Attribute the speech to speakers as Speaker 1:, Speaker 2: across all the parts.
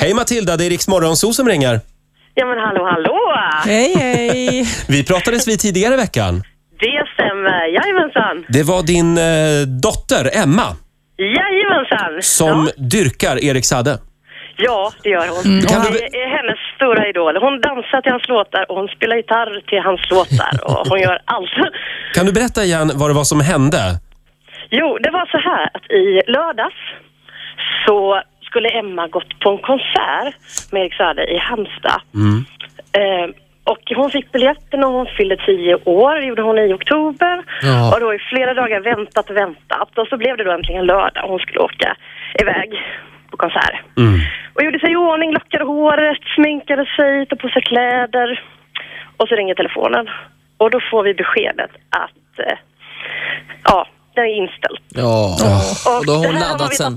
Speaker 1: Hej Matilda, det är Riks Morgonzoo som ringer.
Speaker 2: Ja men hallå hallå!
Speaker 3: Hej, hej.
Speaker 1: Vi pratades vid tidigare i veckan.
Speaker 2: Det stämmer, jajamensan!
Speaker 1: Det var din eh, dotter Emma
Speaker 2: Jajamensan!
Speaker 1: som
Speaker 2: Ja,
Speaker 1: dyrkar Erik Sade.
Speaker 2: ja det gör hon.
Speaker 1: Kan
Speaker 2: hon
Speaker 1: du be-
Speaker 2: är, är hennes stora idol. Hon dansar till hans låtar och hon spelar gitarr till hans låtar och hon gör allt.
Speaker 1: Kan du berätta igen vad det var som hände?
Speaker 2: Jo, det var så här att i lördags så skulle Emma gått på en konsert med Erik Saade i Halmstad.
Speaker 1: Mm.
Speaker 2: Eh, och hon fick biljetten när hon fyllde tio år, det gjorde hon i oktober.
Speaker 1: Ja.
Speaker 2: Och då i flera dagar väntat och väntat. Och så blev det då äntligen lördag och hon skulle åka iväg på konsert. Och gjorde sig i ordning, lockade håret, sminkade sig, tog på sig kläder. Och så ringer telefonen. Och då får vi beskedet att eh, ja, den är inställd.
Speaker 4: Ja, och då har hon
Speaker 2: det här har
Speaker 4: laddat
Speaker 2: vi-
Speaker 4: sen.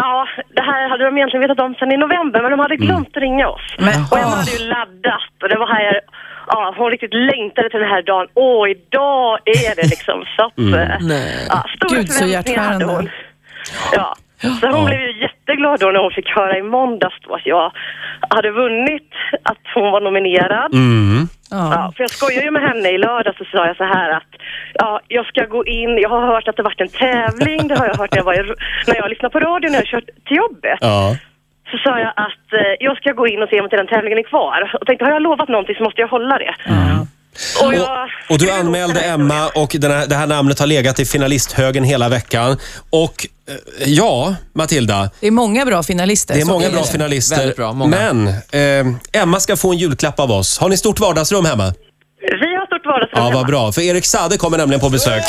Speaker 2: Ja, det här hade de egentligen vetat om sen i november, men de hade
Speaker 4: Mm.
Speaker 2: glömt att ringa oss.
Speaker 3: Men-
Speaker 2: och Emma hade ju
Speaker 4: Ah.
Speaker 2: laddat och det var här, ja, hon riktigt längtade till den här dagen. Åh, idag är det liksom. Så att, eh,
Speaker 4: Mm. Nej.
Speaker 2: ja, stora
Speaker 3: Gud, så
Speaker 2: förväntningar hade
Speaker 3: hjärtskärande.
Speaker 2: hon. Ja. Så hon blev ju jätteglad då när hon fick höra i måndags då att jag hade vunnit, att hon var nominerad.
Speaker 1: Mm.
Speaker 3: Ja.
Speaker 2: Ja, för jag skojade ju med henne i lördags och så sa jag så här att ja, jag ska gå in, jag har hört att det varit en tävling, det har jag hört när jag, var i, när jag lyssnade på radio när jag kört till jobbet.
Speaker 1: Ja.
Speaker 2: Så sa jag att eh, jag ska gå in och se om inte den tävlingen är kvar. Och tänkte, har jag lovat någonting så måste jag hålla det. Och, jag,
Speaker 1: Och, och du anmälde Emma och den här, det här namnet har legat i finalisthögen hela veckan. Och eh, ja, Matilda,
Speaker 3: Det är många bra finalister.
Speaker 1: det är
Speaker 3: så
Speaker 1: många
Speaker 3: är
Speaker 1: bra
Speaker 3: det.
Speaker 1: finalister.
Speaker 4: Alltså, Väldigt bra, många.
Speaker 1: Men eh, Emma ska få en julklapp av oss. Har ni stort vardagsrum hemma?
Speaker 2: Vi har stort vardagsrum
Speaker 1: Ja, vad
Speaker 2: hemma.
Speaker 1: bra. För Erik Sade kommer nämligen på besök.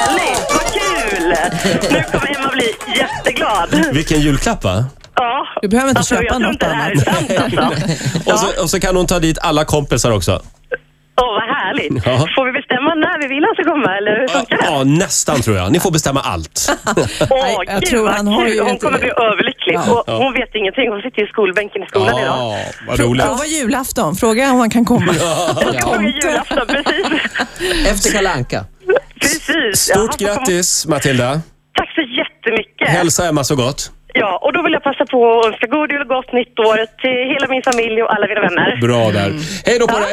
Speaker 2: Härligt, vad kul! Nu kommer Emma bli jätteglad.
Speaker 1: Vilken julklapp, va?
Speaker 2: Ja.
Speaker 3: Du behöver inte
Speaker 2: alltså,
Speaker 3: köpa
Speaker 2: jag tror
Speaker 3: något
Speaker 2: inte det här är
Speaker 3: annat.
Speaker 2: sant alltså.
Speaker 1: Och så, och så kan hon ta dit alla kompisar också.
Speaker 2: Åh, vad härligt.
Speaker 1: Ja.
Speaker 2: Får vi bestämma när vi vill han ska komma, eller hur funkar det?
Speaker 1: Ja, nästan tror jag. Ni får bestämma allt.
Speaker 2: Åh,
Speaker 3: Nej, jag
Speaker 2: gud,
Speaker 3: tror
Speaker 2: vad
Speaker 3: han har
Speaker 2: kul.
Speaker 3: ju
Speaker 2: Hon
Speaker 3: ett-
Speaker 2: kommer bli överlycklig. Och Hon vet ingenting. Hon sitter i skolbänken i skolan idag.
Speaker 1: Ja, vad roligt.
Speaker 3: Prova julafton. Fråga om man kan komma.
Speaker 2: Fråga julafton, precis.
Speaker 4: Efter Kalle Anka.
Speaker 2: precis. Ja, han
Speaker 1: Stort
Speaker 2: får komma.
Speaker 1: grattis, Matilda.
Speaker 2: Tack så jättemycket.
Speaker 1: Hälsa Emma så gott.
Speaker 2: Ja, och då vill jag passa på att önska god jul och gott nytt år till hela min familj och alla mina vänner.
Speaker 1: Mm. Bra där. Hej då på dig.